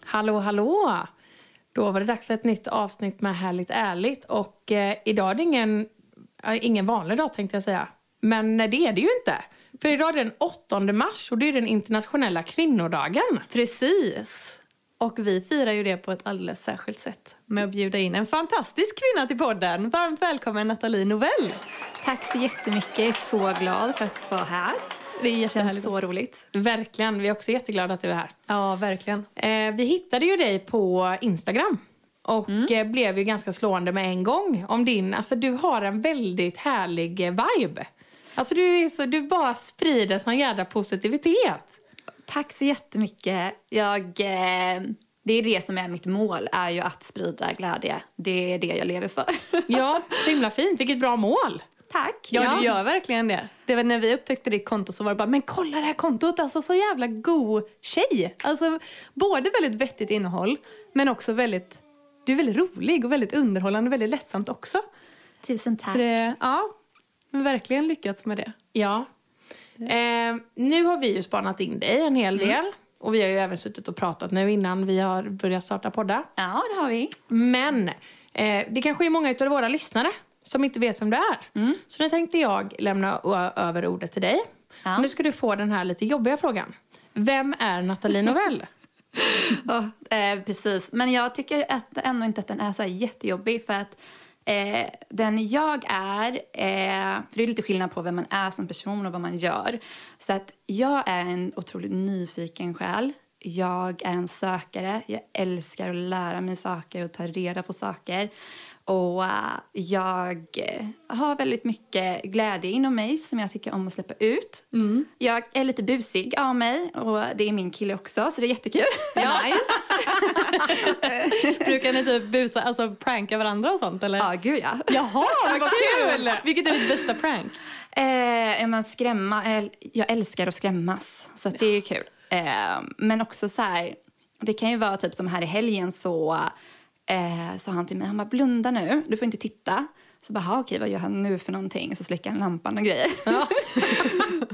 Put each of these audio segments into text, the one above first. Hallå hallå! Då var det dags för ett nytt avsnitt med Härligt ärligt och eh, idag är det ingen, eh, ingen vanlig dag tänkte jag säga. Men eh, det är det ju inte. För idag är det den 8 mars och det är den internationella kvinnodagen. Precis. Och vi firar ju det på ett alldeles särskilt sätt med att bjuda in en fantastisk kvinna till podden. Varmt välkommen Nathalie Novell. Tack så jättemycket. Jag är så glad för att vara här. Det är Det känns så roligt. Verkligen, vi är också jätteglada att du är här. Ja, verkligen. Eh, vi hittade ju dig på Instagram och eh, blev ju ganska slående med en gång om din, alltså du har en väldigt härlig eh, vibe. Alltså du, är så, du bara sprider sån jävla positivitet. Tack så jättemycket. Jag, eh, det är det som är mitt mål, är ju att sprida glädje. Det är det jag lever för. Ja, så himla fint, vilket bra mål. Tack. Ja, du gör verkligen det. Det var när vi upptäckte ditt konto så var det bara, men kolla det här kontot, alltså så jävla god tjej. Alltså både väldigt vettigt innehåll, men också väldigt, du är väldigt rolig och väldigt underhållande och väldigt lättsamt också. Tusen tack. Det, ja, verkligen lyckats med det. Ja. Eh, nu har vi ju spanat in dig en hel del. Och vi har ju även suttit och pratat nu innan vi har börjat starta poddar. Ja, det har vi. Men eh, det kanske är många av våra lyssnare som inte vet vem du är. Mm. Så nu tänkte jag lämna ö- över ordet till dig. Ja. Och nu ska du få den här lite jobbiga frågan. Vem är Nathalie Novell? Ja, eh, precis. Men jag tycker att, ändå inte att den är så här jättejobbig. För att eh, den jag är... Eh, för det är lite skillnad på vem man är som person och vad man gör. Så att jag är en otroligt nyfiken själ. Jag är en sökare. Jag älskar att lära mig saker och ta reda på saker. Och eh, jag eh, har väldigt mycket glädje inom mig som jag tycker om att släppa ut. Jag är lite busig av mig och det är min kille också så det är jättekul. Ja. Brukar ni typ busa, alltså pranka varandra och sånt eller? Ja, gud ja. Jaha, vad kul! Vilket är ditt bästa prank? Eh, ja, men skrämma, el- jag älskar att skrämmas, så att det är ju kul. Eh, men också så här, det kan ju vara typ som här i helgen så eh, sa han till mig, han bara blunda nu, du får inte titta. Så bara, "Ha, okej vad gör han nu för någonting? Så släcker han lampan och grejer.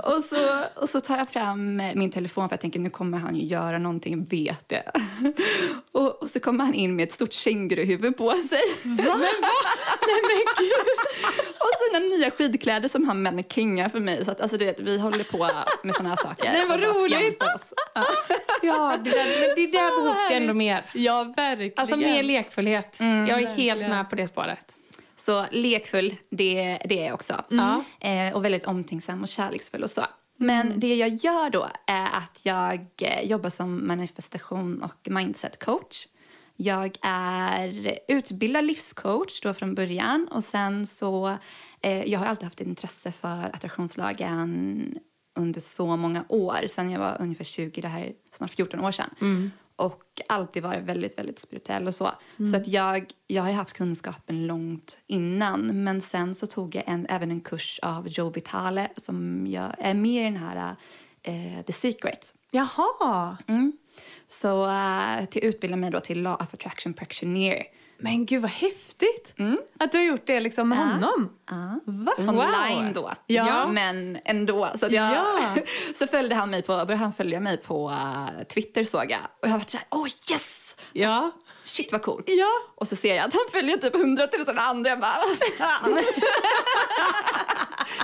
och, så, och så tar jag fram eh, min telefon för jag tänker nu kommer han ju göra någonting, jag vet det. och, och så kommer han in med ett stort känguruhuvud på sig. Och sina nya skidkläder som han mannekingar för mig. Så att, alltså, du vet, vi håller på med såna här saker. Nej, vad Och bara roligt. fjantar oss. Ja. Ja, det där, men det där behövs ju ändå mer. Ja, verkligen. Mm, Alltså mer lekfullhet. jag är helt med på det spåret. Så lekfull, det, det är jag också. Ja. Eh, och väldigt omtänksam och kärleksfull och så. Men det jag gör då är att jag eh, jobbar som manifestation och mindset coach. Jag är utbildad livscoach då från början och sen så eh, jag har alltid haft ett intresse för attraktionslagen under så många år. Sen jag var ungefär 20, det här är snart 14 år sedan. Och alltid varit väldigt, väldigt spirituell och så. Så att jag, jag har ju haft kunskapen långt innan. Men sen så tog jag en, även en kurs av Joe Vitale som jag är med i den här eh, The Secret. Jaha. Mm. Så eh, till utbilda mig då till Law of Attraction Practitioner. Men gud vad häftigt! Att du har gjort det liksom med Ja. honom. Ja. Va? Online Wow. då. Ja. Men ändå. Så, att jag, Ja. så följde han mig på, började han följa mig på eh, Twitter såg jag. Och jag var så här, oh yes! Ja. Shit vad coolt. Ja. Och så ser jag att han följer typ hundratusen andra. Jag bara, "Vad fan?"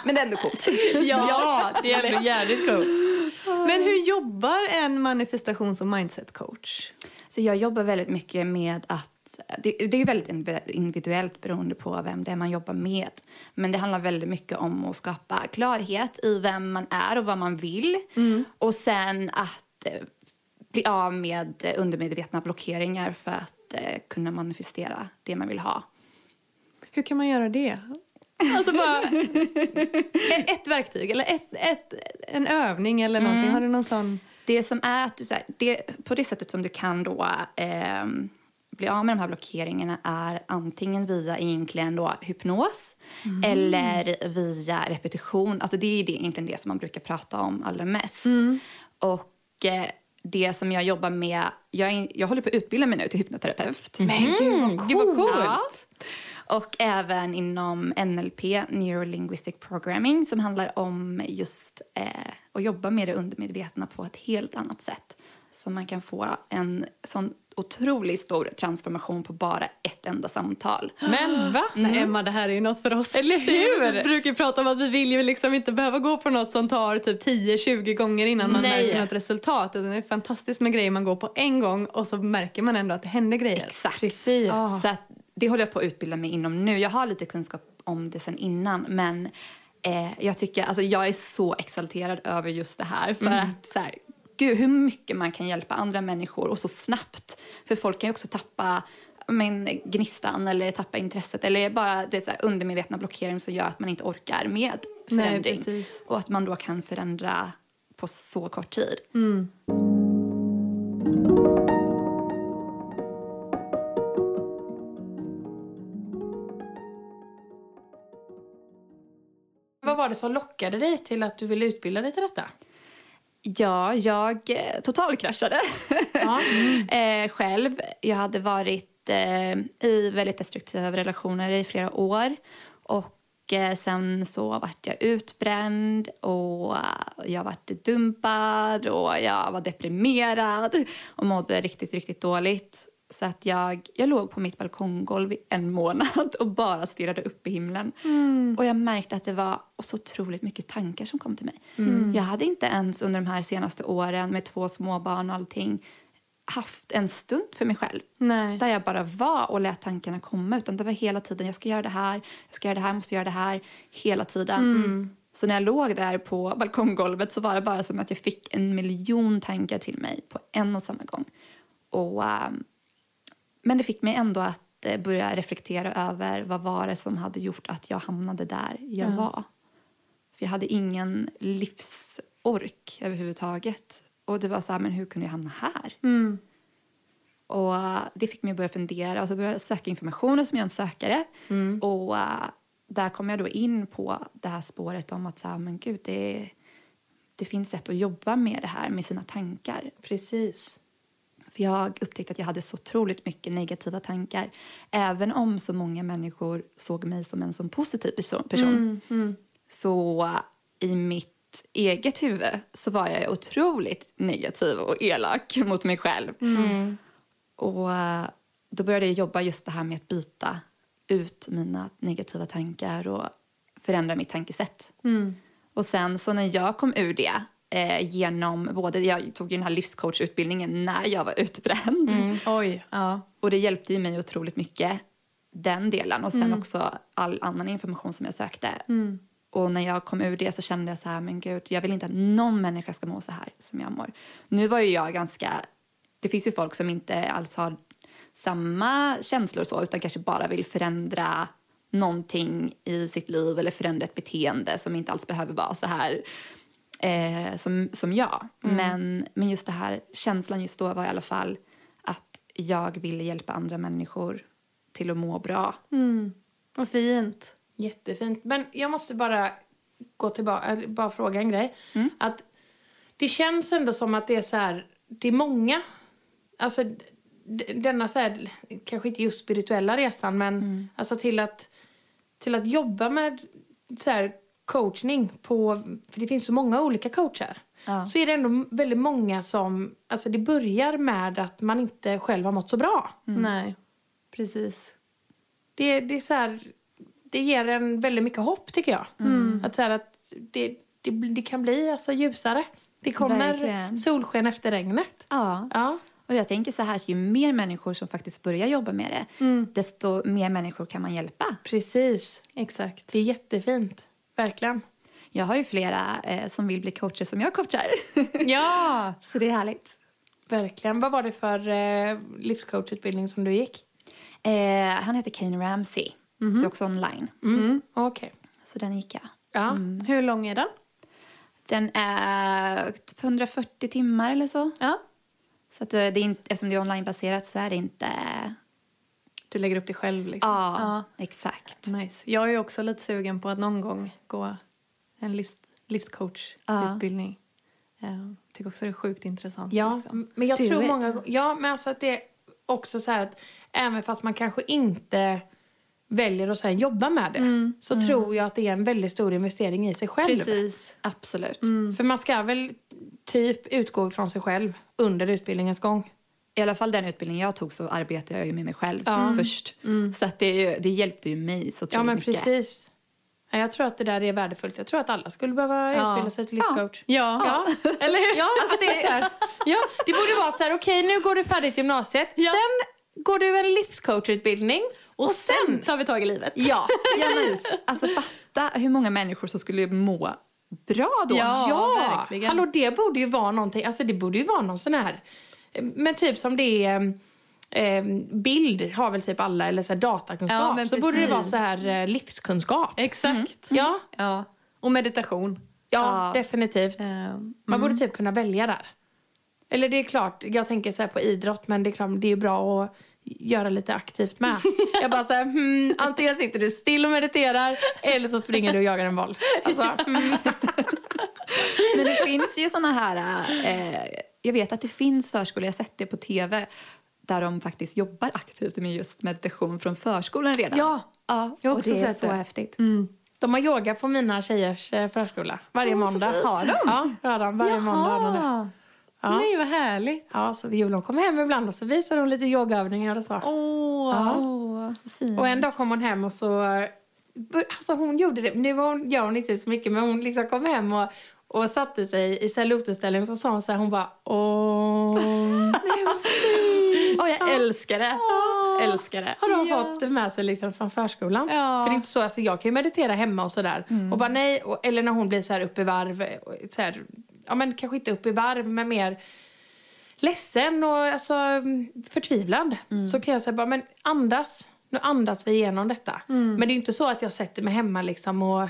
Men det är ändå coolt. Ja, det är ändå jävligt coolt. Men hur jobbar en manifestations och mindset coach? Så jag jobbar väldigt mycket med att det, det är ju väldigt inv- individuellt beroende på vem det är man jobbar med. Men det handlar väldigt mycket om att skapa klarhet i vem man är och vad man vill. Och sen att eh, bli av med eh, undermedvetna blockeringar för att eh, kunna manifestera det man vill ha. hur kan man göra det? Alltså bara ett, ett verktyg eller ett, ett, en övning eller någonting. Har du någon sån? Det som är att du, så här, det, på det sättet som du kan då ehm, bli av med de här blockeringarna är antingen via egentligen då hypnos eller via repetition. Alltså det är det, egentligen det som man brukar prata om allra mest. Och eh, det som jag jobbar med, jag, är- jag håller på att utbilda mig nu till hypnoterapeut. Men gud vad gud, vad coolt. och även inom NLP, Neurolinguistic Programming, som handlar om just eh, att jobba med det undermedvetna på ett helt annat sätt. Så man kan få en sån otroligt stor transformation på bara ett enda samtal. Men va? Nej, Emma, det här är ju något för oss. Eller hur? Vi brukar ju prata om att vi vill ju liksom inte behöva gå på något som tar typ 10-20 gånger innan man Nej. märker något resultat. Utan Det är fantastiskt med grejer man går på en gång och så märker man ändå att det händer grejer. Exakt. Precis. Ah. Så att det håller jag på att utbilda mig inom nu. Jag har lite kunskap om det sen innan, men eh, jag, tycker, alltså, jag är så exalterad över just det här. För Mm. att så här, gud, hur mycket man kan hjälpa andra människor och så snabbt. För folk kan ju också tappa men, gnistan eller tappa intresset eller bara det så här, undermedvetna blockering som gör att man inte orkar med Nej, förändring. precis. och att man då kan förändra på så kort tid. Mm. Vad var det som lockade dig till att du ville utbilda dig till detta? Ja, jag eh, totalkraschade. Ja. eh, själv. Jag hade varit eh, i väldigt destruktiva relationer i flera år. Och eh, Sen så vart jag utbränd och eh, jag vart dumpad och jag var deprimerad och mådde riktigt, riktigt dåligt. Så att jag, jag låg på mitt balkonggolv i en månad och bara stirrade upp i himlen. Och jag märkte att det var så otroligt mycket tankar som kom till mig. Jag hade inte ens under de här senaste åren med två småbarn och allting haft en stund för mig själv Nej. där jag bara var och lät tankarna komma. Utan Det var hela tiden jag ska göra det här, jag ska göra det här, måste göra det här. Hela tiden. Så när jag låg där på balkonggolvet så var det bara som att jag fick en miljon tankar till mig på en och samma gång. Och, ehm, men det fick mig ändå att eh, börja reflektera över vad var det som hade gjort att jag hamnade där jag var. För jag hade ingen livsork överhuvudtaget. Och det var så här, men hur kunde jag hamna här? Mm. Och eh, det fick mig att börja fundera och så började jag söka information som jag en sökare. Och eh, där kom jag då in på det här spåret om att så här, men gud, det, det finns sätt att jobba med det här med sina tankar. Precis. För jag upptäckte att jag hade så otroligt mycket negativa tankar. Även om så många människor såg mig som en sån positiv perso- person. Så eh, i mitt eget huvud så var jag otroligt negativ och elak mot mig själv. Och eh, då började jag jobba just det här med att byta ut mina negativa tankar och förändra mitt tankesätt. Och sen så när jag kom ur det eh, genom både, jag tog ju den här livscoachutbildningen när jag var utbränd Oj. Ja. och det hjälpte ju mig otroligt mycket den delen och sen också all annan information som jag sökte. Och när jag kom ur det så kände jag så här, men gud, jag vill inte att någon människa ska må så här som jag mår. Nu var ju jag ganska, det finns ju folk som inte alls har samma känslor och så utan kanske bara vill förändra någonting i sitt liv eller förändra ett beteende som inte alls behöver vara så här eh, som, som jag. Men, men just det här känslan just då var i alla fall att jag ville hjälpa andra människor till att må bra. Mm. Vad fint. Jättefint. Men jag måste bara gå tillbaka, eller bara fråga en grej. Att det känns ändå som att det är så här, det är många, alltså d- d- denna så här, kanske inte just spirituella resan, men alltså till att, till att jobba med så här coachning på, för det finns så många olika coacher. Ja. Så är det ändå väldigt många som, alltså det börjar med att man inte själv har mått så bra. Nej, precis. Det, det, är så här, det ger en väldigt mycket hopp, tycker jag. Mm. Att, så här, att det, det, det kan bli alltså, ljusare. Det kommer Verkligen. solsken efter regnet. Ja. Ja, Och jag tänker så här, ju mer människor som faktiskt börjar jobba med det, desto mer människor kan man hjälpa. precis. Exakt. Det är jättefint. Verkligen. Jag har ju flera eh, som vill bli coacher som jag coachar. Ja! så det är härligt. Verkligen. Vad var det för eh, livscoachutbildning som du gick? Eh, han heter Kane Ramsey Så också online. Mm. Okej. Så den gick jag. Ja. Hur lång är den? Den är typ 140 timmar eller så. Ja. Så att eh, det är inte, eftersom det är onlinebaserat så är det inte... Du lägger upp det själv liksom? Ja, Mm. exakt. Nice. Jag är ju också lite sugen på att någon gång gå en livs, livscoachutbildning. Eh, tycker också det är sjukt intressant. Ja, liksom. m- men jag Do tror it. många Ja, men alltså att det är också så här att även fast man kanske inte väljer att sen jobba med det så tror jag att det är en väldigt stor investering i sig själv. Mm. Precis. Absolut. För man ska väl typ utgå från sig själv under utbildningens gång. I alla fall den utbildning jag tog så arbetade jag ju med mig själv först. Mm. Så att det, är ju- det hjälpte ju mig så otroligt Ja, men mycket. precis. Ja, Jag tror att det där är värdefullt. Jag tror att alla skulle behöva Ja. utbilda sig till livscoach. Ja. Eller hur? Ja, alltså det, är så här, ja, det borde vara så här, okej nu går du färdigt gymnasiet, sen går du en livscoachutbildning och, sen... tar vi tag i livet. Ja, Ja, men, alltså fatta hur många människor som skulle må bra då. Ja. verkligen. Hallå, det borde ju vara någonting, alltså det borde ju vara någon sån här, men typ som det är eh, bild har väl typ alla, eller så här datakunskap, Ja, så men borde det precis. vara så här eh, livskunskap. Exakt. Ja, Ja. Och meditation. ja, Ja. definitivt. Eh, mm. Man borde typ kunna välja där. Eller det är klart, jag tänker så här på idrott, men det är, klart, det är ju bra att göra lite aktivt med. Jag bara så här, hmm, antingen sitter du still och mediterar eller så springer du och jagar en boll. Alltså, mm, Men det finns ju såna här... Eh, jag vet att det finns förskolor, jag har sett det på tv där de faktiskt jobbar aktivt med just meditation från förskolan redan. Ja, ja jag har och också det är sett så det. Mm. häftigt. de har yoga på mina tjejers eh, förskola varje Åh, så måndag. fint. Har de? Ja, det har de. Varje måndag har de det. Jaha. Ja. Nej, vad härligt. Ja, så Julen kommer hem ibland och så visar de lite yogaövningar och så. Åh. Ja. Åh, vad fint. Och en dag kom hon hem och så... eh, Alltså hon gjorde det. Nu var hon, gör hon inte så mycket, men hon liksom kom hem och, och satte sig i så här lotusställning och så sa hon så här, hon bara åh. Åh, jag älskar det! Älskar det. Har de Ja. fått med sig liksom från förskolan. Ja. För det är inte så, alltså jag kan ju meditera hemma och sådär. Och bara nej, och, eller när hon blir så här upp i varv. eh, och Så här, ja men kanske inte upp i varv, men mer ledsen och alltså mm, förtvivlad. Så kan jag säga bara, men andas. Nu andas vi igenom detta. Men det är ju inte så att jag sätter mig hemma liksom och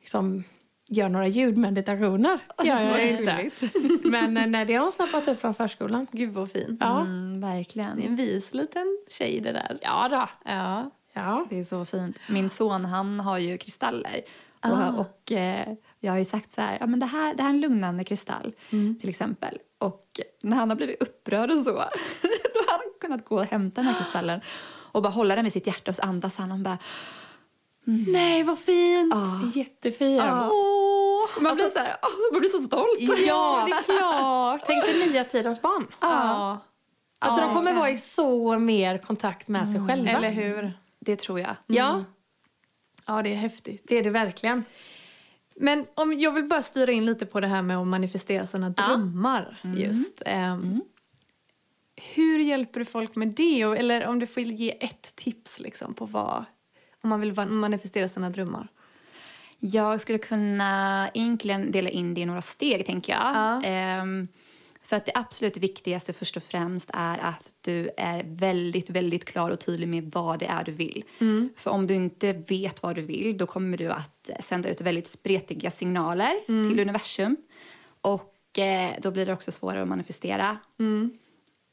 liksom gör några ljudmeditationer. Gör Vad jag ju inte. gulligt. Men eh, nej, det har hon snappat upp från förskolan. Gud, vad fin. Ja, Mm, verkligen. Det är en vis liten tjej det där. ja då. Ja. Ja. Det är så fint. Min son han har ju kristaller. Och, och eh, jag har ju sagt så här, ja, men det här, det här är en lugnande kristall till exempel. Och när han har blivit upprörd och så, då har han kunnat gå och hämta den här kristallen och bara hålla den vid sitt hjärta och så andas han och bara, Nej, vad fint. Jättefint. Åh. man blir så här, "Åh, man blir så stolt. Ja, det är klart. Tänk dig nya tidens barn. Ja. Alltså Ja, de kommer vara i så mer kontakt med sig själva. Eller hur? Det tror jag. Ja, Ja, det är häftigt. det är det verkligen. Men om, jag vill bara styra in lite på det här med att manifestera sina drömmar. just. Ehm, Hur hjälper du folk med det? Och- Eller om du får ge ett tips liksom, på vad... Om man vill va- manifestera sina drömmar. Jag skulle kunna egentligen dela in det i några steg, tänker jag. Ja. Ehm, för att det absolut viktigaste först och främst är att du är väldigt, väldigt klar och tydlig med vad det är du vill. För om du inte vet vad du vill då kommer du att sända ut väldigt spretiga signaler till universum. Och eh, då blir det också svårare att manifestera.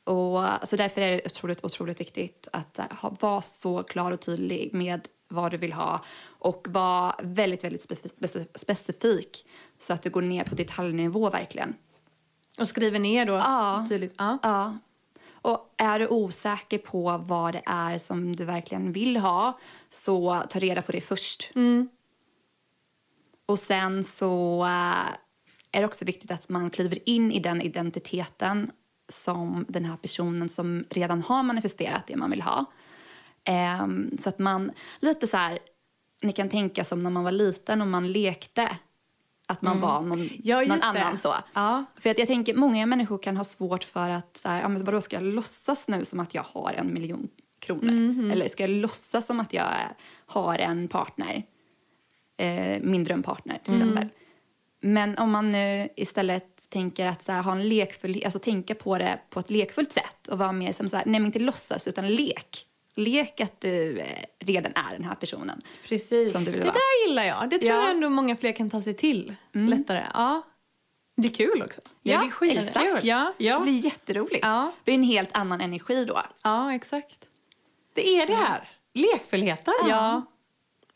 Och, så därför är det otroligt, otroligt viktigt att eh, ha, vara så klar och tydlig med vad du vill ha och vara väldigt, väldigt spef- speci- specifik så att du går ner på detaljnivå verkligen. Och skriver ner då Ja. tydligt. Ja. Ja. Och är du osäker på vad det är som du verkligen vill ha så ta reda på det först. Och sen så eh, är det också viktigt att man kliver in i den identiteten som den här personen som redan har manifesterat det man vill ha. Ehm, så att man lite så här, ni kan tänka som när man var liten och man lekte. Att man var någon, Mm. Ja, någon just annan det. så. Ja. För att jag tänker, många människor kan ha svårt för att, så här, ja, men vadå ska jag låtsas nu som att jag har en miljon kronor? Mhm. Eller ska jag låtsas som att jag är- har en partner? Eh, min drömpartner till exempel. Men om man nu istället tänker att så här, ha en lekfull, alltså tänka på det på ett lekfullt sätt och vara mer som så här, nej men inte låtsas utan lek. Lek att du eh, redan är den här personen Precis. som du vill Det vara. där gillar jag. Det tror Ja. jag ändå många fler kan ta sig till lättare. Ja. Det är kul också. Ja, det är skitkul. exakt. Ja. Ja. Det blir jätteroligt. Ja. Det blir en helt annan energi då. Alltså, ja, exakt. Det är det här. Lekfullheten. Ja,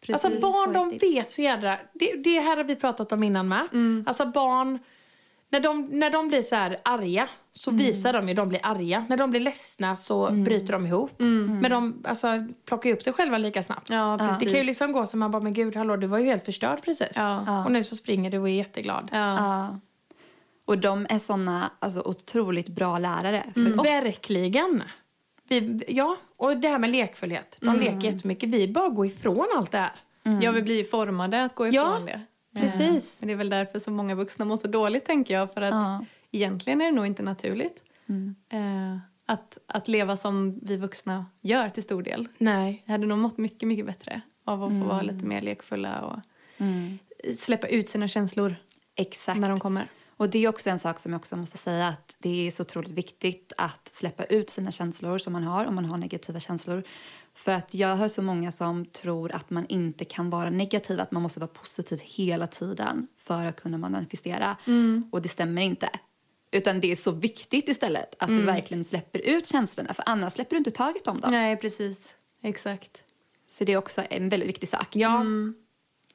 precis. Alltså barn så de viktigt. vet så jädra... Det, det här har vi pratat om innan med. Alltså barn, när de, när de blir så här arga så visar de ju de blir arga. När de blir ledsna så bryter de ihop. Men de alltså, plockar ju upp sig själva lika snabbt. ja, precis. Det kan ju liksom gå som man bara, men gud hallå du var ju helt förstörd precis. Ja. Och nu så springer du och är jätteglad. Ja. Ja. Och de är såna alltså, otroligt bra lärare Mm. för oss. Mm. Verkligen. Vi, ja, och det här med lekfullhet. De leker jättemycket. Vi bara går ifrån allt det här. ja, vi blir ju formade att gå Ja, ifrån det. Precis. Men det är väl därför så många vuxna mår så dåligt, tänker jag. För att Ja. Mm. egentligen är det nog inte naturligt eh, att, att leva som vi vuxna gör till stor del. Nej. Jag hade nog mått mycket, mycket bättre av att få vara lite mer lekfulla och Mm. släppa ut sina känslor Exakt. när de kommer. Och det är också en sak som jag också måste säga att det är så otroligt viktigt att släppa ut sina känslor som man har om man har negativa känslor. För att jag hör så många som tror att man inte kan vara negativ, att man måste vara positiv hela tiden för att kunna manifestera. Och det stämmer inte. Utan det är så viktigt istället att du verkligen släpper ut känslorna för annars släpper du inte taget om dem. Nej, precis. Exakt. Så det är också en väldigt viktig sak. Ja,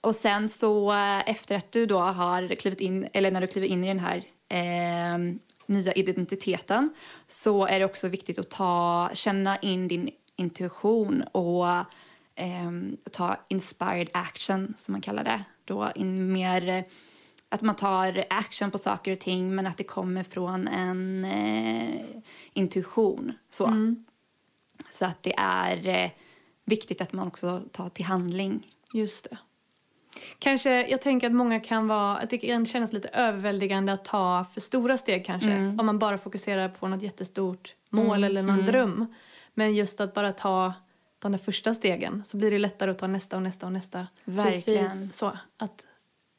Och sen så eh, efter att du då har klivit in, eller när du kliver in i den här eh, nya identiteten så är det också viktigt att ta, känna in din intuition och eh, ta inspired action som man kallar det. Då in mer eh, att man tar action på saker och ting men att det kommer från en eh, intuition. Så. så att det är eh, viktigt att man också tar till handling. Just det. Kanske, jag tänker att många kan vara, att det kan kännas lite överväldigande att ta för stora steg kanske. Mm. Om man bara fokuserar på något jättestort mål eller någon dröm. Men just att bara ta de där första stegen så blir det lättare att ta nästa och nästa och nästa. Verkligen. Precis. Så, att,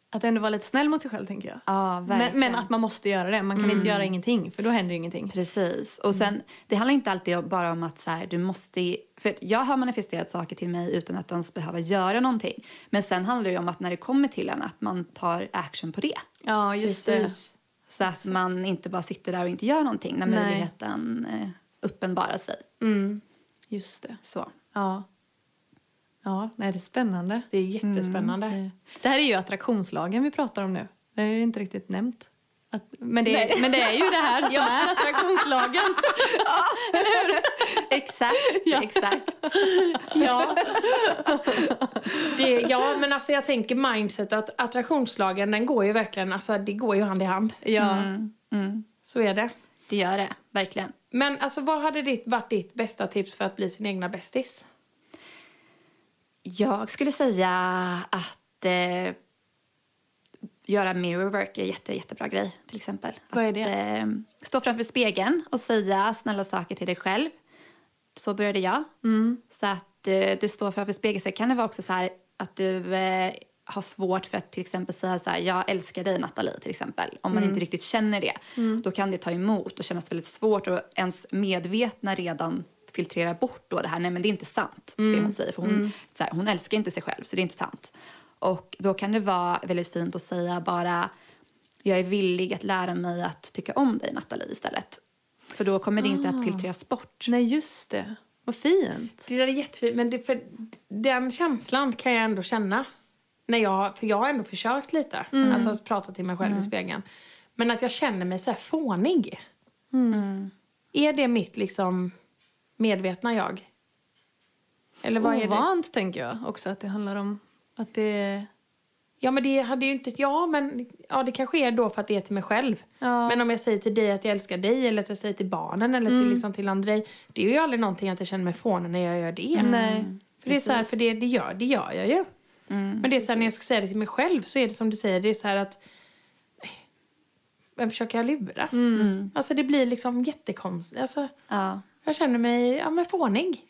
att ändå vara lite snäll mot sig själv tänker jag. Ja, verkligen. Mm. men, men att man måste göra det, man kan inte göra ingenting för då händer ju ingenting. Precis. Och sen, Det handlar inte alltid bara om att så här, du måste... För att jag har manifesterat saker till mig utan att ens behöva göra någonting. Men sen handlar det ju om att när det kommer till en att man tar action på det. Ja, just det. precis. Så att man inte bara sitter där och inte gör någonting när Nej. möjligheten eh, uppenbarar sig. Mm. Just det. Så. Ja. Ja, nej, det är spännande. Det är jättespännande. Mm, Det här är ju attraktionslagen vi pratar om nu. Det har jag ju inte riktigt nämnt. Att, men, det är, men det är ju det här som är attraktionslagen. Exakt, exakt. Ja. Det, ja, men alltså jag tänker mindset och att attraktionslagen, den går ju verkligen, alltså det går ju hand i hand. Ja. Mm, mm. Så är det. Det gör det, verkligen. Men alltså vad hade ditt, varit ditt bästa tips för att bli sin egna bästis? Jag skulle säga att eh, göra mirror work är en jätte, jättebra grej. till exempel. Vad är det? Att, eh, stå framför spegeln och säga snälla saker till dig själv. Så började jag. Så att eh, du står framför spegeln. Sen kan det vara också så här att du eh, har svårt för att till exempel säga så här, jag älskar dig Nathalie till exempel. Om man inte riktigt känner det. Då kan det ta emot och kännas väldigt svårt och ens medvetna redan filtrera bort då det här, nej men det är inte sant det hon säger. För hon, så här, hon älskar inte sig själv så det är inte sant. Och då kan det vara väldigt fint att säga bara jag är villig att lära mig att tycka om dig Nathalie istället. För då kommer det inte att filtreras bort. Nej, just det. Vad fint. Det där är jättefint, men det, för, den känslan kan jag ändå känna. När jag, för jag har ändå försökt lite, alltså pratat till mig själv i spegeln. Men att jag känner mig så här fånig. Är det mitt liksom medvetna jag? Eller vad är det? Ovant, tänker jag också att det handlar om. Att det... Ja, men det hade ju inte... Ja, men ja, det kanske är då för att det är till mig själv. Ja. Men om jag säger till dig att jag älskar dig eller att jag säger till barnen eller Mm. till, liksom, till Andrej. Det är ju aldrig någonting att jag känner mig fånig när jag gör det. Mm. Mm. Nej. Mm, För det är så här, för det, det, gör, det gör jag ju. men det är så här, när jag ska säga det till mig själv så är det som du säger, det är så här att... nej, Vem försöker jag lura? Mm. Alltså det blir liksom jättekonstigt. Alltså, Ja. jag känner mig ja, men fånig.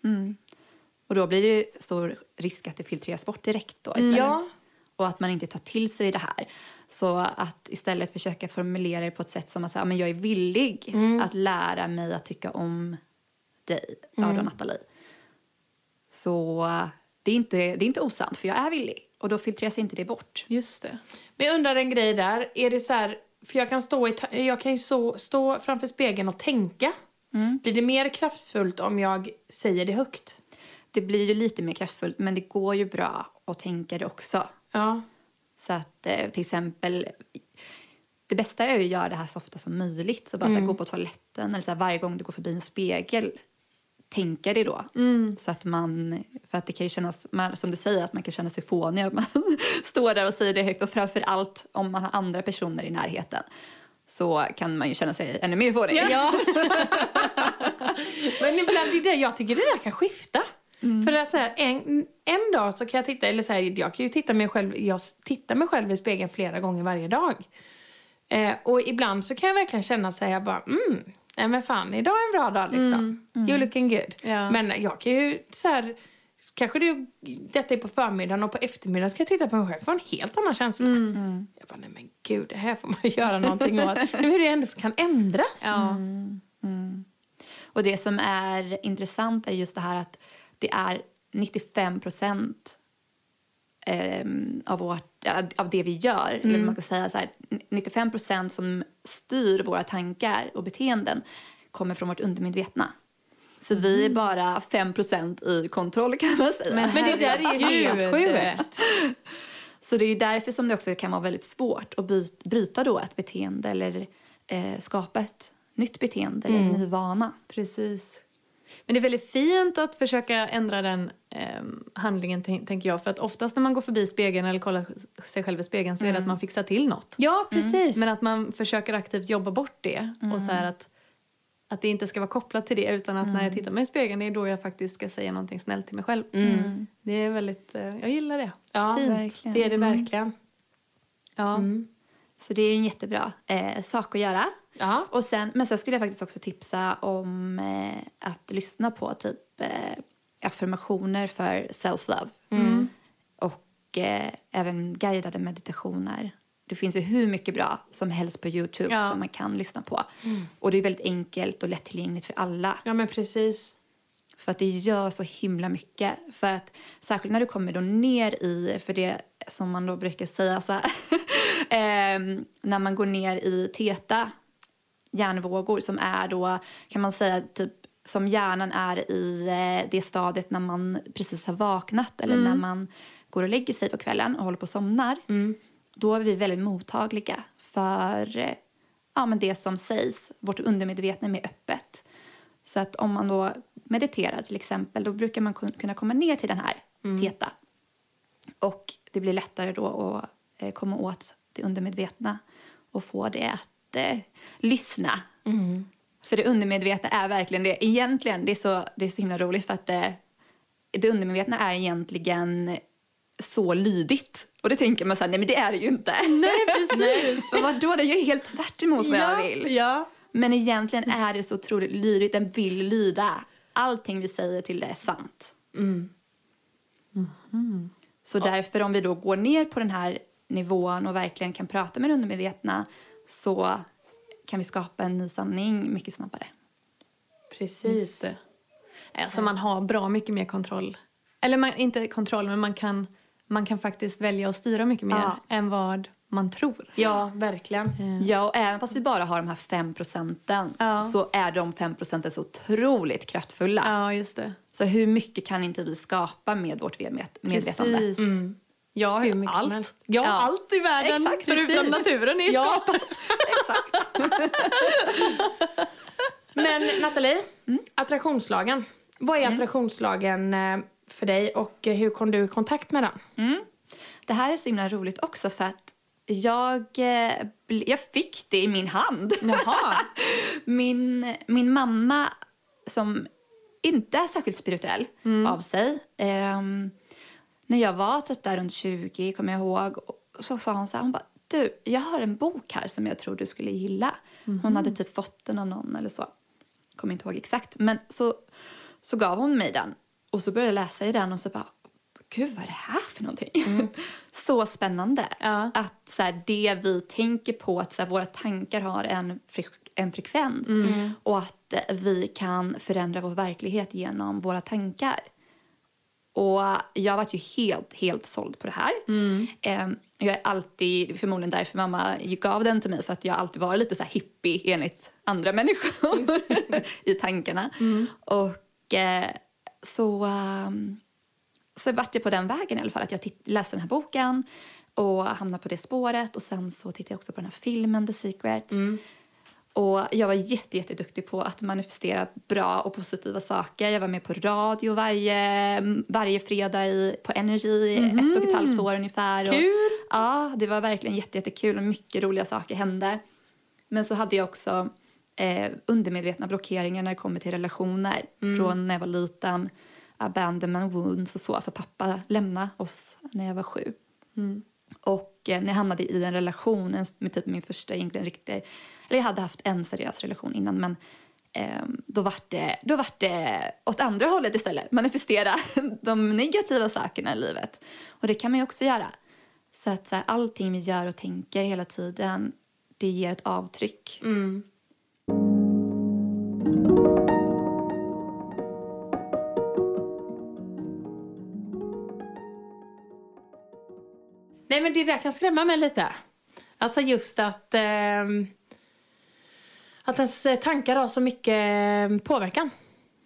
Och då blir det ju stor risk att det filtreras bort direkt då istället. Ja. Och att man inte tar till sig det här. Så att istället försöka formulera det på ett sätt som att säga, men jag är villig att lära mig att tycka om dig, ja då Nathalie. Så det är, inte, det är inte osant, för jag är villig. Och då filtreras inte det bort. Just det. Men jag undrar en grej där. Är det så här, för jag kan, stå, i, ta- jag kan ju så, stå framför spegeln och tänka. Blir det mer kraftfullt om jag säger det högt? Det blir ju lite mer kraftfullt, men det går ju bra att tänka det också. Ja. Så att eh, till exempel, det bästa är ju att göra det här så ofta som möjligt. Så bara så här, gå på toaletten eller så här, varje gång du går förbi en spegel, tänka det då. Så att man, för att det kan ju kännas, man, som du säger, att man kan känna sig fånig om man står där och säger det högt. Och framför allt om man har andra personer i närheten så kan man ju känna sig ännu mer fånig. ja. Men ibland, det är det, jag tycker det där kan skifta. Mm. För det är så här, en, en dag så kan jag titta, eller så här, jag kan ju titta mig själv, jag tittar mig själv i spegeln flera gånger varje dag. Eh, och ibland så kan jag verkligen känna så här, jag bara, mm, nej men fan, idag är en bra dag liksom. You're looking good. Mm, Ja. Men jag kan ju så här, kanske det, detta är på förmiddagen och på eftermiddagen ska jag titta på mig själv, få en helt annan känsla. Mm. Jag bara, nej men gud, det här får man göra någonting åt. Nu hur det ändå kan ändras. Ja. Och det som är intressant är just det här att det är 95 procent ehm, av, vårt, av det vi gör, eller vad man ska säga så här, 95 procent som styr våra tankar och beteenden kommer från vårt undermedvetna. Så vi är bara 5 procent i kontroll kan man säga. Men det där är ju helt Herregud. sjukt. Så det är ju därför som det också kan vara väldigt svårt att by- bryta då ett beteende eller eh, skapa ett nytt beteende eller en ny vana. Precis. Men det är väldigt fint att försöka ändra den ehm, handlingen, tän- tänker jag. För att oftast när man går förbi spegeln eller kollar sig själv i spegeln så är det Mm. att man fixar till något. Ja, precis. Men att man försöker aktivt jobba bort det. Och så här att, att det inte ska vara kopplat till det utan att när jag tittar mig i spegeln det är då jag faktiskt ska säga någonting snällt till mig själv. Mm. Det är väldigt, eh, jag gillar det. ja, Fint. verkligen. Mm. det är det verkligen. Ja. Så det är ju en jättebra eh, sak att göra. Ja. Och sen, men sen skulle jag faktiskt också tipsa om eh, att lyssna på typ eh, affirmationer för self-love. Och eh, även guidade meditationer. Det finns ju hur mycket bra som helst på Youtube Ja. som man kan lyssna på. Och det är väldigt enkelt och lättillgängligt för alla. ja, men precis. För att det gör så himla mycket. För att särskilt när du kommer då ner i, för det som man då brukar säga så här, ehm, när man går ner i teta hjärnvågor som är då, kan man säga typ som hjärnan är i eh, det stadiet när man precis har vaknat eller när man går och lägger sig på kvällen och håller på och somnar. Då är vi väldigt mottagliga för eh, ja, men det som sägs. Vårt undermedvetna är mer öppet. Så att om man då mediterar till exempel, då brukar man kun- kunna komma ner till den här teta. Och det blir lättare då att eh, komma åt det undermedvetna och få det att eh, lyssna. Mm. För det undermedvetna är verkligen det. Egentligen, det är så, det är så himla roligt för att eh, det undermedvetna är egentligen så lydigt. Och det tänker man så här, nej men det är det ju inte. Nej, precis. Men vadå, det är ju helt tvärt emot vad jag vill. Ja. Mm. Men egentligen är det så otroligt lydigt. Den vill lyda. Allting vi säger till det är sant. Mm. Så därför om vi då går ner på den här nivån och verkligen kan prata med det undermedvetna så kan vi skapa en ny sanning mycket snabbare. Precis. Just det. Alltså man har bra mycket mer kontroll. Eller man, inte kontroll, men man kan, man kan faktiskt välja att styra mycket mer Ja. än vad man tror. Ja, verkligen. Ja, och även fast vi bara har de här fem procenten Ja. så är de fem procenten så otroligt kraftfulla. Ja, just det. Så hur mycket kan inte vi skapa med vårt medvet- medvetande? Precis. Mm. Jag har Hur ju mycket som allt. helst. Jag har Ja. allt i världen Exakt, förutom precis. naturen är Ja. skapat. Exakt. Men Nathalie, attraktionslagen. Vad är attraktionslagen eh, för dig och eh, hur kom du i kontakt med den? Det här är så himla roligt också för att jag, eh, bli- jag fick det i min hand. Jaha. Min, min mamma, som inte är särskilt spirituell Mm. av sig... ehm, när jag var typ där runt 20, kommer jag ihåg, och så sa hon så här, hon bara, du, jag har en bok här som jag tror du skulle gilla. Hon hade typ fått den av någon eller så. Kommer inte ihåg exakt. Men så, så gav hon mig den och så började jag läsa i den och så bara, gud vad är det här för någonting? så spännande. Ja. Att så här, det vi tänker på, att så här, våra tankar har en, fre- en frekvens och att eh, vi kan förändra vår verklighet genom våra tankar. Och jag var ju helt, helt såld på det här. Ehm, jag är alltid, förmodligen därför mamma gav den till mig, för att jag har alltid varit lite så här hippie enligt andra människor i tankarna. Och eh, så... ehm, så vart det på den vägen i alla fall. Att jag titt- läste den här boken och hamnade på det spåret. Och sen så tittade jag också på den här filmen The Secret. Och jag var jätte, jätteduktig på att manifestera bra och positiva saker. Jag var med på radio varje, varje fredag i, på Energy i ett och ett halvt år ungefär. Kul! Och, ja, det var verkligen jätte, jättekul och mycket roliga saker hände. Men så hade jag också eh, undermedvetna blockeringar när det kommer till relationer. Från när jag var liten, abandonment wounds och så. För pappa lämnade oss när jag var sju. Och eh, när jag hamnade i en relation en- med typ min första egentligen riktiga... Eller jag hade haft en seriös relation innan men ehm, då var det, då var det åt andra hållet istället. Manifestera de negativa sakerna i livet. Och det kan man ju också göra. Så att så här, allting vi gör och tänker hela tiden det ger ett avtryck. Nej, men det där kan skrämma mig lite. Alltså just att... ehm, att ens tankar har så mycket ehm, påverkan.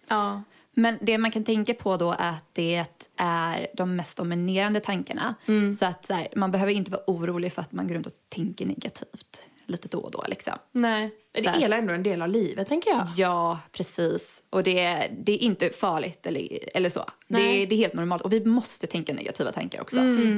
Ja. Men det man kan tänka på då är att det är de mest dominerande tankarna. Så att så här, man behöver inte vara orolig för att man går runt och tänker negativt lite då och då. Liksom. Nej. Det Så här. är ändå en del av livet, tänker jag. Ja, precis. Och det, det är inte farligt eller, eller så. Nej. Det, det är helt normalt. Och vi måste tänka negativa tankar också.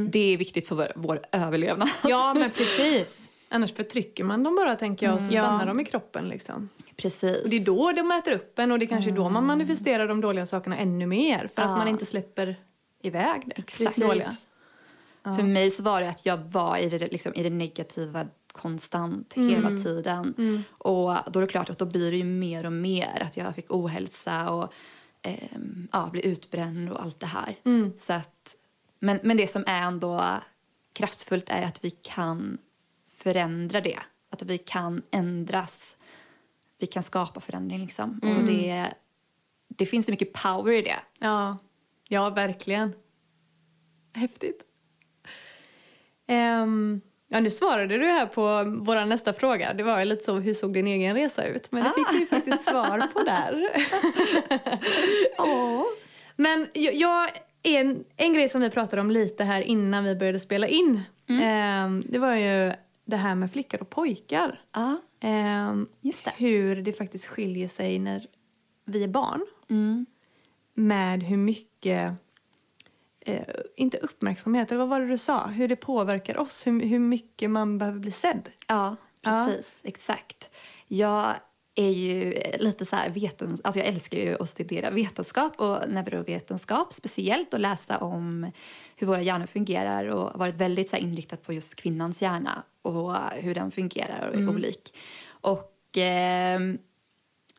Det är viktigt för vår, vår överlevnad. Ja, men precis. Annars förtrycker man dem bara tänker jag och så Ja. stannar de i kroppen liksom. Precis. Och det är då de äter upp en och det kanske är då man manifesterar de dåliga sakerna ännu mer för att man inte släpper iväg det. Exakt. Det dåliga. För mig så var det att jag var i det, liksom, i det negativa konstant hela tiden. Och då är det klart att då blir det ju mer och mer att jag fick ohälsa och ehm, ja, blev utbränd och allt det här. Så att, men, men det som är ändå kraftfullt är att vi kan förändra det. Att vi kan ändras. Vi kan skapa förändring liksom. Och det, det finns så mycket power i det. Ja. ja, verkligen. Häftigt. Ehm, ja, nu svarade du här på vår nästa fråga. Det var ju lite så, hur såg din egen resa ut? Men det fick du ju faktiskt svar på där. Men jag, jag en, en grej som vi pratade om lite här innan vi började spela in. ehm, det var ju det här med flickor och pojkar. Ja, Ehm, just det. hur det faktiskt skiljer sig när vi är barn Mm. med hur mycket, eh, inte uppmärksamhet, eller vad var det du sa? Hur det påverkar oss, hur, hur mycket man behöver bli sedd. Ja. Ja, precis. Exakt. Jag är ju lite så här vetens... Alltså jag älskar ju att studera vetenskap och neurovetenskap speciellt och läsa om hur våra hjärnor fungerar och varit väldigt så här inriktat på just kvinnans hjärna och hur den fungerar och är olik. Och ehm,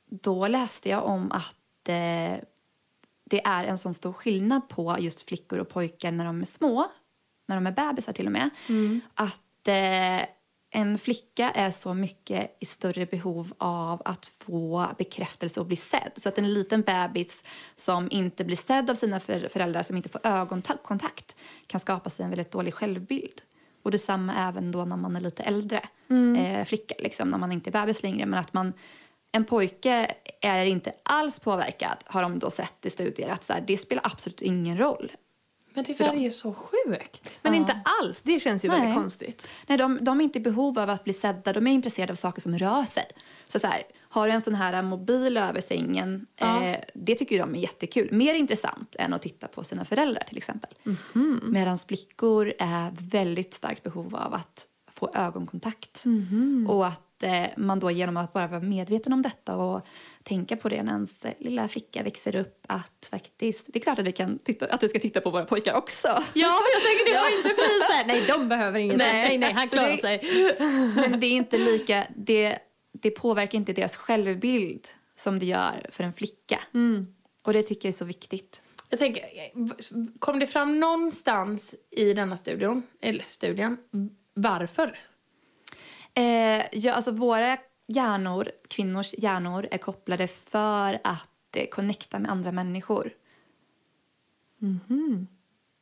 då läste jag om att eh, det är en sån stor skillnad på just flickor och pojkar när de är små, när de är bebisar till och med. Att eh, en flicka är så mycket i större behov av att få bekräftelse och bli sedd. Så att en liten bebis som inte blir sedd av sina för- föräldrar, som inte får ögonkontakt, kan skapa sig en väldigt dålig självbild. Och detsamma även då när man är lite äldre eh, flicka, liksom, när man inte är bebis längre. Men att man, en pojke är inte alls påverkad, har de då sett i studier. Att så här, det spelar absolut ingen roll. Men det där är ju så sjukt. Men inte alls, det känns ju Nej. väldigt konstigt. Nej, de, de är inte i behov av att bli sedda, de är intresserade av saker som rör sig. Så, så här, har du en sån här mobil över sängen, eh, det tycker ju de är jättekul. Mer intressant än att titta på sina föräldrar till exempel. Mhm. Medan flickor är väldigt starkt behov av att få ögonkontakt. Mhm. Och att eh, man då genom att bara vara medveten om detta och tänka på det när ens eh, lilla flicka växer upp att faktiskt, det är klart att vi kan titta, att vi ska titta på våra pojkar också. Ja, jag tänker det var inte bli så här, nej de behöver inget, nej Nej. nej, han Alltså, Så klarar det- sig. Men det är inte lika, det, det påverkar inte deras självbild som det gör för en flicka. Och det tycker jag är så viktigt. Jag tänker, kom det fram någonstans i denna studion, eller studien, varför? Eh, ja, alltså våra hjärnor, kvinnors hjärnor, är kopplade för att eh, connecta med andra människor.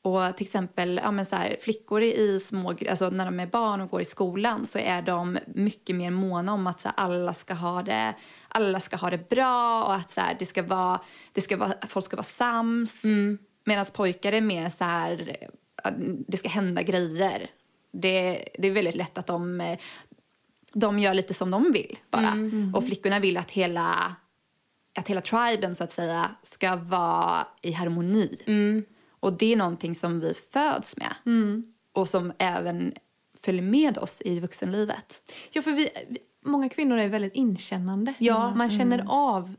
Och till exempel ja, men så här, flickor i små, alltså när de är barn och går i skolan så är de mycket mer måna om att så här, alla, ska ha det, alla ska ha det bra och att så här, det ska vara, det ska vara, folk ska vara sams. Medan pojkar är mer så här, ja, det ska hända grejer. Det, det är väldigt lätt att de, eh, de gör lite som de vill bara. Och flickorna vill att hela att hela triben så att säga ska vara i harmoni. Och det är någonting som vi föds med och som även följer med oss i vuxenlivet. Ja, för vi, vi, många kvinnor är väldigt inkännande. Ja. Man känner av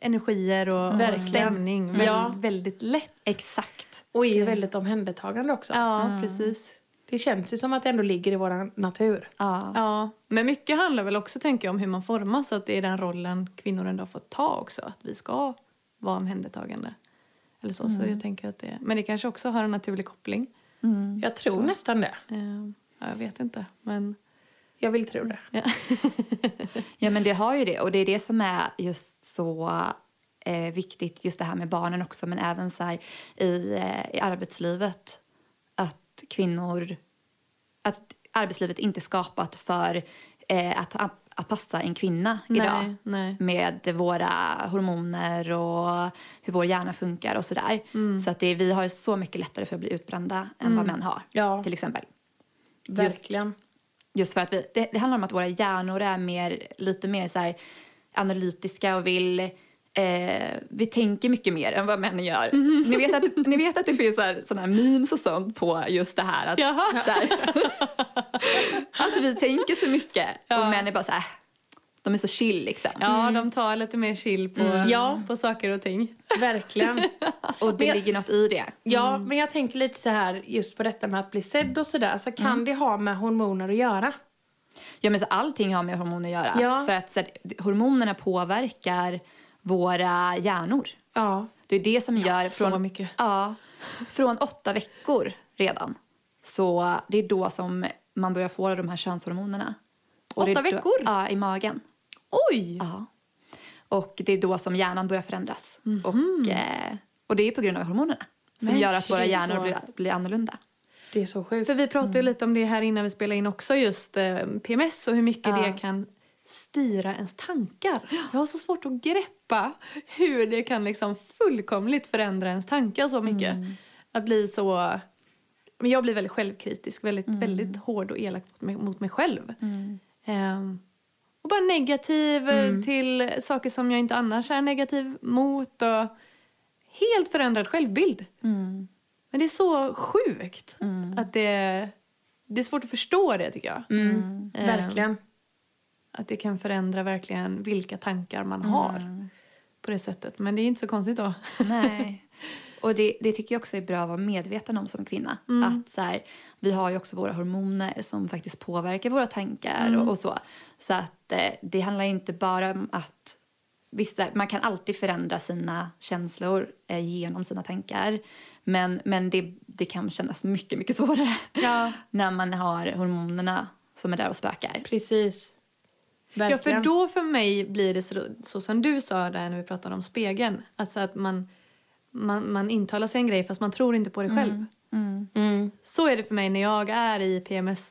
energier och, och Verkligen. stämning väldigt, Ja. väldigt lätt. Exakt. Och är ju väldigt omhändertagande också. Ja, precis. Det känns ju som att det ändå ligger i vår natur. Ja. Ja. Men mycket handlar väl också tänker jag, om hur man formas. Att det är den rollen kvinnor ändå har fått ta också. Att vi ska vara omhändertagande. Eller så, så jag tänker att det, men det kanske också har en naturlig koppling. Jag tror nästan det. Eh, ja, jag vet inte. Men, Jag vill tro det. ja. ja, men det har ju det. Och det är det som är just så eh, viktigt, just det här med barnen också men även så här i, eh, i arbetslivet. Att kvinnor... Att arbetslivet inte är skapat för eh, att, att passa en kvinna idag. Nej, nej. med våra hormoner och hur vår hjärna funkar och sådär. Mm. Så att det, vi har ju så mycket lättare för att bli utbrända än vad män har. Ja. Till exempel. Verkligen. Just för att vi, det, det handlar om att våra hjärnor är mer, lite mer så här analytiska och vill eh, vi tänker mycket mer än vad män gör. Mm-hmm. Ni, vet att, ni vet att det finns så här- såna här memes och sånt på just det här att, Jaha. så här, att vi tänker så mycket och män är bara så här, "Äh, de är så chill liksom. ja, de tar lite mer chill på, Ja. på saker och ting. Verkligen. Och det Men- ligger något i det. Ja, men jag tänker lite så här just på detta med att bli sedd och sådär. Så kan det ha med hormoner att göra? Ja, men så allting har med hormoner att göra. Ja. För att så här, hormonerna påverkar våra hjärnor. Ja. Det är det som gör... så mycket. Ja, från åtta veckor redan. Så det är då som man börjar få de här könshormonerna. det är Åtta då- veckor? Ja, i magen. Oj! Ja. Och det är då som hjärnan börjar förändras. Och, eh, och det är på grund av hormonerna. Som Mhm. Men gör att våra shit, hjärnor så. blir, blir annorlunda. Det är så sjukt. Mm. För vi pratade ju lite om det här innan vi spelade in också, just eh, PMS och hur mycket det kan styra ens tankar. Jag har så svårt att greppa hur det kan liksom fullkomligt förändra ens tankar så mycket. Mm. Att bli så... Men jag blir väldigt självkritisk, väldigt, Mm. väldigt hård och elak mot mig, mot mig själv. Ehm, och bara negativ eh, Mm. till saker som jag inte annars är negativ mot. Och helt förändrad självbild. Men det är så sjukt att det, det är svårt att förstå det tycker jag. Mm. Eh, Verkligen. Att det kan förändra verkligen vilka tankar man har på det sättet. Men det är inte så konstigt då. Nej. Och det, det tycker jag också är bra att vara medveten om som kvinna. Att så här, vi har ju också våra hormoner som faktiskt påverkar våra tankar och, och så. Så att eh, det handlar ju inte bara om att Visst, där- man kan alltid förändra sina känslor eh, genom sina tankar. Men, men det, det kan kännas mycket, mycket svårare Ja. när man har hormonerna som är där och spökar. Precis. Ja, Verkligen. för då för mig blir det så, så som du sa där när vi pratade om spegeln. Alltså att man, man, man intalar sig en grej fast man tror inte på det själv. Mm. Så är det för mig när jag är i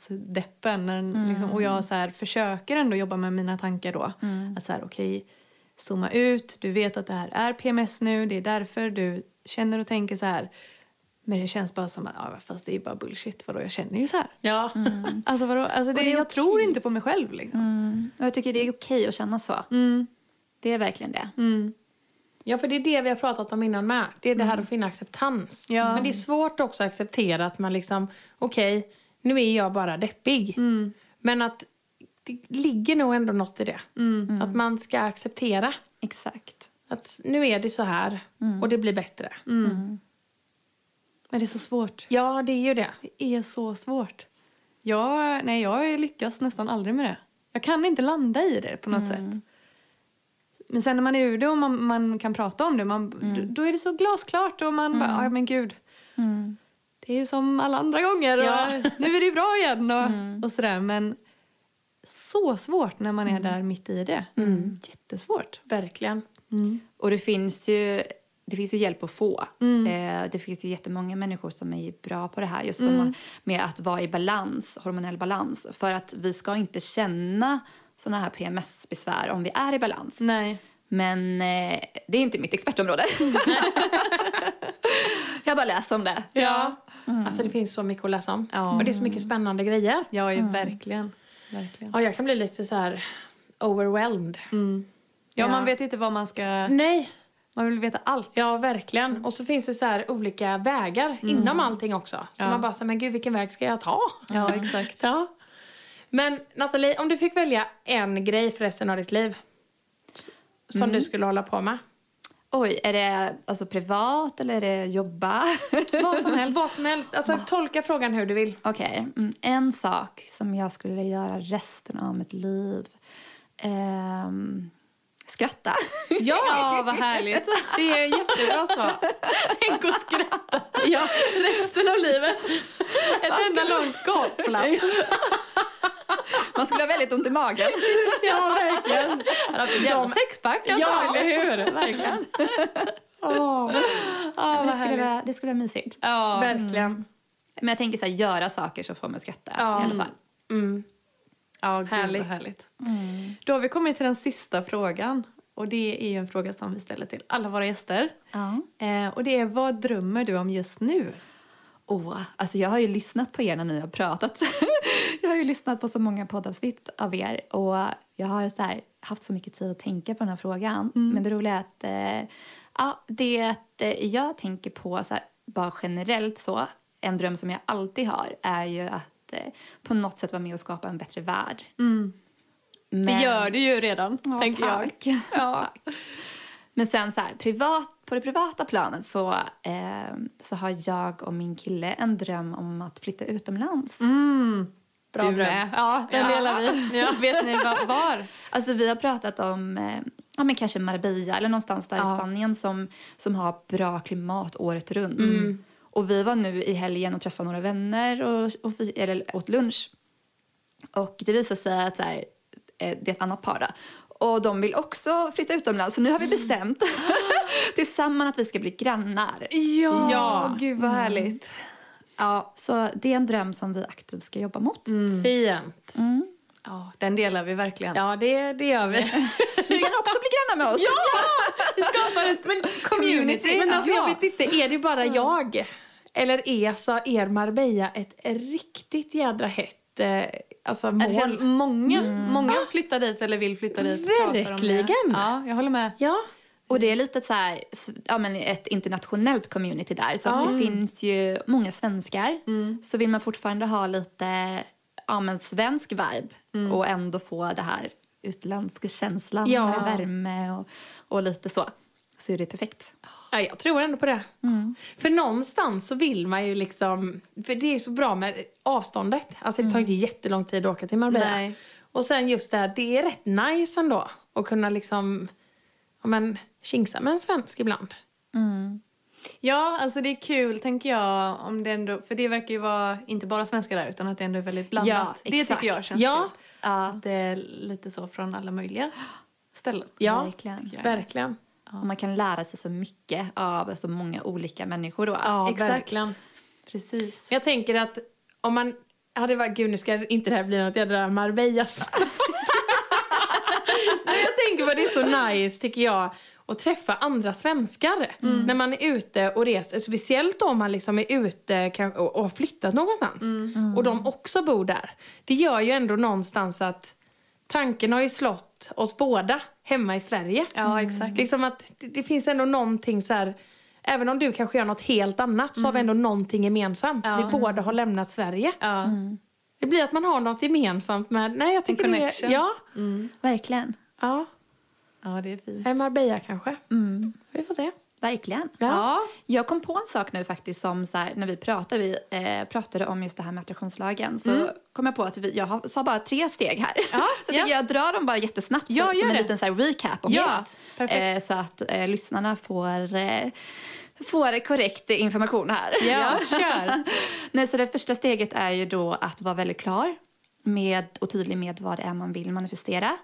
PMS-deppen när, Mm. liksom, och jag så här, försöker ändå jobba med mina tankar då. Mm. Att så här, okej, zooma ut, du vet att det här är PMS nu, det är därför du känner och tänker så här. Men det känns bara som att, ja, fast det är bara bullshit, vadå, jag känner ju så här. Ja. Alltså vadå, alltså det, Mm. det är jag okej. Mm. tror inte på mig själv liksom. Och jag tycker det är okej att känna så. Det är verkligen det. ja, för det är det vi har pratat om innan med. Det är det här att finna acceptans. Ja. Men det är svårt också att acceptera att man liksom, okej, nu är jag bara deppig. Men att det ligger nog ändå något i det. Att man ska acceptera Exakt. att nu är det så här och det blir bättre. Men det är så svårt. Ja, det är ju det. Det är så svårt. Jag, nej, jag lyckas nästan aldrig med det. Jag kan inte landa i det på något Mm. sätt. Men sen när man är ur det och man, man kan prata om det, man, d- Mm. då är det så glasklart och man bara, "Aj, men gud. Det är ju som alla andra gånger och Mm. Ja. Mm. nu är det ju bra igen och, och sådär. Men så svårt när man är där mitt i det. Jättesvårt. Verkligen. Och det finns ju det finns ju hjälp att få. Eh, det finns ju jättemånga människor som är bra på det här just om, med att vara i balans, hormonell balans. För att vi ska inte känna såna här PMS-besvär om vi är i balans. Nej. Men eh, det är inte mitt expertområde. jag bara läser om det. Ja. Mm. Alltså det finns så mycket att läsa om. Och det är så mycket spännande grejer. Ja, ju verkligen. verkligen. Mm. Ja, jag kan bli lite så här overwhelmed. Ja, Ja. man vet inte vad man ska... Nej, Man vill veta allt. ja verkligen. Och så finns det så här olika vägar inom allting också. Så Mm. Ja. man bara säger, men gud vilken väg ska jag ta? Ja, exakt. Ja. Men Nathalie, om du fick välja en grej för resten av ditt liv som Mm. du skulle hålla på med. Oj, är det alltså privat eller är det jobba? Vad som helst. Vad som helst. Alltså, tolka frågan hur du vill. Okej, mm, en sak som jag skulle göra resten av mitt liv. Ehm, skratta. Ja, vad härligt. Det är jättebra svar. Tänk att skratta Ja. resten av livet. Ett enda långt gapflapp. Man skulle ha väldigt ont i magen. ja, verkligen. Jävla sexpack Ja, eller antagligen. hur? Verkligen. Åh, det, vad skulle härligt. vara, det skulle vara mysigt. Ja. Verkligen. Men jag tänker så här, göra saker så får man skratta Ja. i alla fall. Mm. Ja, gud Härligt. vad härligt. Mm. Då har vi kommit till den sista frågan. Och det är ju en fråga som vi ställer till alla våra gäster. Mm. Ja. Eh, och det är, vad drömmer du om just nu? Åh, alltså jag har ju lyssnat på er när ni har pratat. jag har ju lyssnat på så många poddavsnitt av er och jag har så här, haft så mycket tid att tänka på den här frågan. Men det roliga är att eh, ja, det är att eh, jag tänker på så här, bara generellt så, en dröm som jag alltid har är ju att eh, på något sätt vara med och skapa en bättre värld. Men- Mm. Det gör du ju redan, Ja, tänker tack. jag. Tack. Men sen så här, privat, på det privata planet så, eh, så har jag och min kille en dröm om att flytta utomlands. Bra du dröm. med. Mm. Ja, den Ja. delar vi. Ja. Vet ni va- var? Alltså vi har pratat om eh, ja, men kanske Marbella eller någonstans där Ja. i Spanien som, som har bra klimat året runt. Mm. Och vi var nu i helgen och träffade några vänner och, och fi, eller, åt lunch. Och det visar sig att så här, eh, det är ett annat par då. Och de vill också flytta utomlands så nu har vi Mm. bestämt tillsammans att vi ska bli grannar. Ja, Ja. gud vad härligt. Ja. Mm. Så det är en dröm som vi aktivt ska jobba mot. Fint. ja, den delar vi verkligen. Ja, det, det gör vi. Ni kan också bli grannar med oss. Vi skapar ett men, community. Men alltså, jag Ja. vet inte, är det bara jag? Eller är alltså er Marbella ett riktigt jädra hett eh, alltså, Det känns mål? många, många flyttar dit eller vill flytta dit. och pratar om det. Verkligen. Ja, jag håller med. Ja, Och Mm. det är lite så här, s- ja, men ett internationellt community där. Så att det finns ju många svenskar. Mm. Så vill man fortfarande ha lite ja, men svensk vibe och ändå få det här utländska känslan Mm. Ja. med värme och, och lite så. Så är det perfekt. ja, jag tror ändå på det. Mm. För någonstans så vill man ju liksom... För det är så bra med avståndet. Alltså det tar inte jättelång tid att åka till Marbella. Mm. Nej. Och sen just det här, det är rätt nice ändå. Att kunna liksom, ja men, tjingsa med en svensk ibland. Ja, alltså det är kul tänker jag om det ändå, för det verkar ju vara inte bara svenskar där utan att det ändå är väldigt blandat. Ja, det exakt. tycker jag känns Ja. kul. Ja, Att det är lite så från alla möjliga ställen. Ja, verkligen. tycker jag är Verkligen. Och man kan lära sig så mycket av så många olika människor då. Ja, Exakt. verkligen. nice. Precis. Men Jag tänker att om man hade varit, gud nu ska inte det här bli något jädra Marbellas. Nej, jag tänker vad det är så nice tycker jag att träffa andra svenskar när man är ute och reser. Speciellt om man liksom är ute kan- och och har flyttat någonstans och de också bor där. Det gör ju ändå någonstans att tanken har ju slått oss båda hemma i Sverige. Ja, exakt. Liksom att det, det finns ändå någonting så här, även om du kanske gör något helt annat så har vi ändå någonting gemensamt. Ja. Vi båda har lämnat Sverige. Ja. Det blir att man har något gemensamt med, nej jag tycker det är, connection. ja. Verkligen. Ja, ja, det är fint. Eh, Marbella kanske. Vi får se. Verkligen. Ja. Ja. Jag kom på en sak nu faktiskt som så här, när vi pratade, vi eh, pratade om just det här med attraktionslagen så kom jag på att vi, jag har, sa bara tre steg här. så jag Mm. ja. tänker jag drar dem bara jättesnabbt Ja, så, som gör en det. liten så här, recap. om Ja, oss. perfekt. Eh, så att eh, lyssnarna får, eh, får korrekt information här. Ja, kör. Nej, så det första steget är ju då att vara väldigt klar med, och tydlig med vad det är man vill manifestera.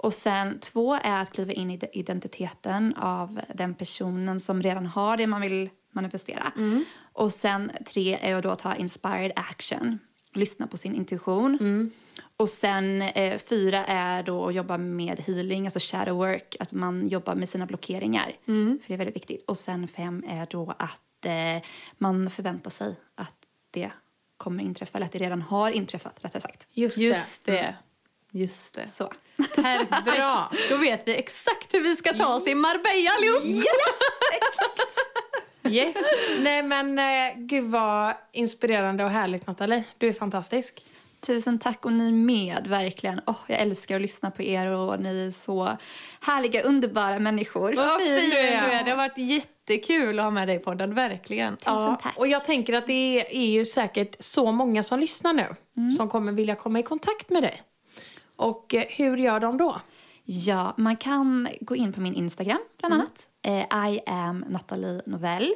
Och sen två är att kliva in i de- identiteten av den personen som redan har det man vill manifestera. Och sen tre är att då ta inspired action, lyssna på sin intuition. Och sen eh, fyra är då att jobba med healing, alltså shadow work, att man jobbar med sina blockeringar. För det är väldigt viktigt. Och sen fem är då att eh, man förväntar sig att det kommer inträffa, eller att det redan har inträffat rättare sagt. Just, Just det. det. Just det. Så. Perfekt. Bra. Då vet vi exakt hur vi ska ta oss till Marbella allihop. Yes. Nej men eh, gud vad inspirerande och härligt Nathalie. Du är fantastisk. Tusen tack och ni med, verkligen. Åh, jag älskar att lyssna på er och ni är så härliga, underbara människor. Vad fin du du är. är. Det har varit jättekul att ha med dig i podden, verkligen. Tusen tack. Och jag tänker att det är, är ju säkert så många som lyssnar nu som kommer vilja komma i kontakt med dig. Och eh, hur gör de då? Ja, man kan gå in på min Instagram bland Mm. annat. Eh, I am Nathalie Novell.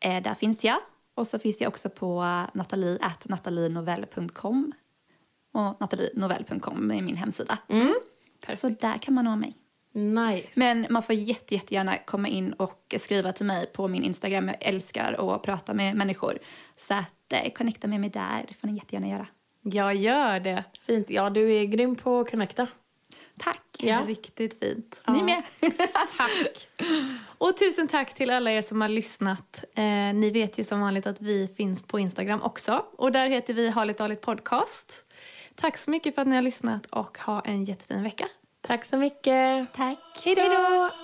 Eh, där finns jag. Och så finns jag också på nathalie.nathalinovell.com. Och nathalinovell.com är min hemsida. Mm. Så där kan man nå mig. Nice. Men man får jätte, jättegärna komma in och skriva till mig på min Instagram. Jag älskar att prata med människor. Så att eh, connecta med mig där, det får ni jättegärna göra. Jag gör det. Fint. Ja, du är grym på att connecta. Tack! Ja. Riktigt fint. Ni med! Tack. Och tusen tack till alla er som har lyssnat. Eh, ni vet ju som vanligt att vi finns på Instagram också. Och där heter vi Harligt Harligt Podcast. Tack så mycket för att ni har lyssnat och ha en jättefin vecka. Tack så mycket. Tack! Hej då!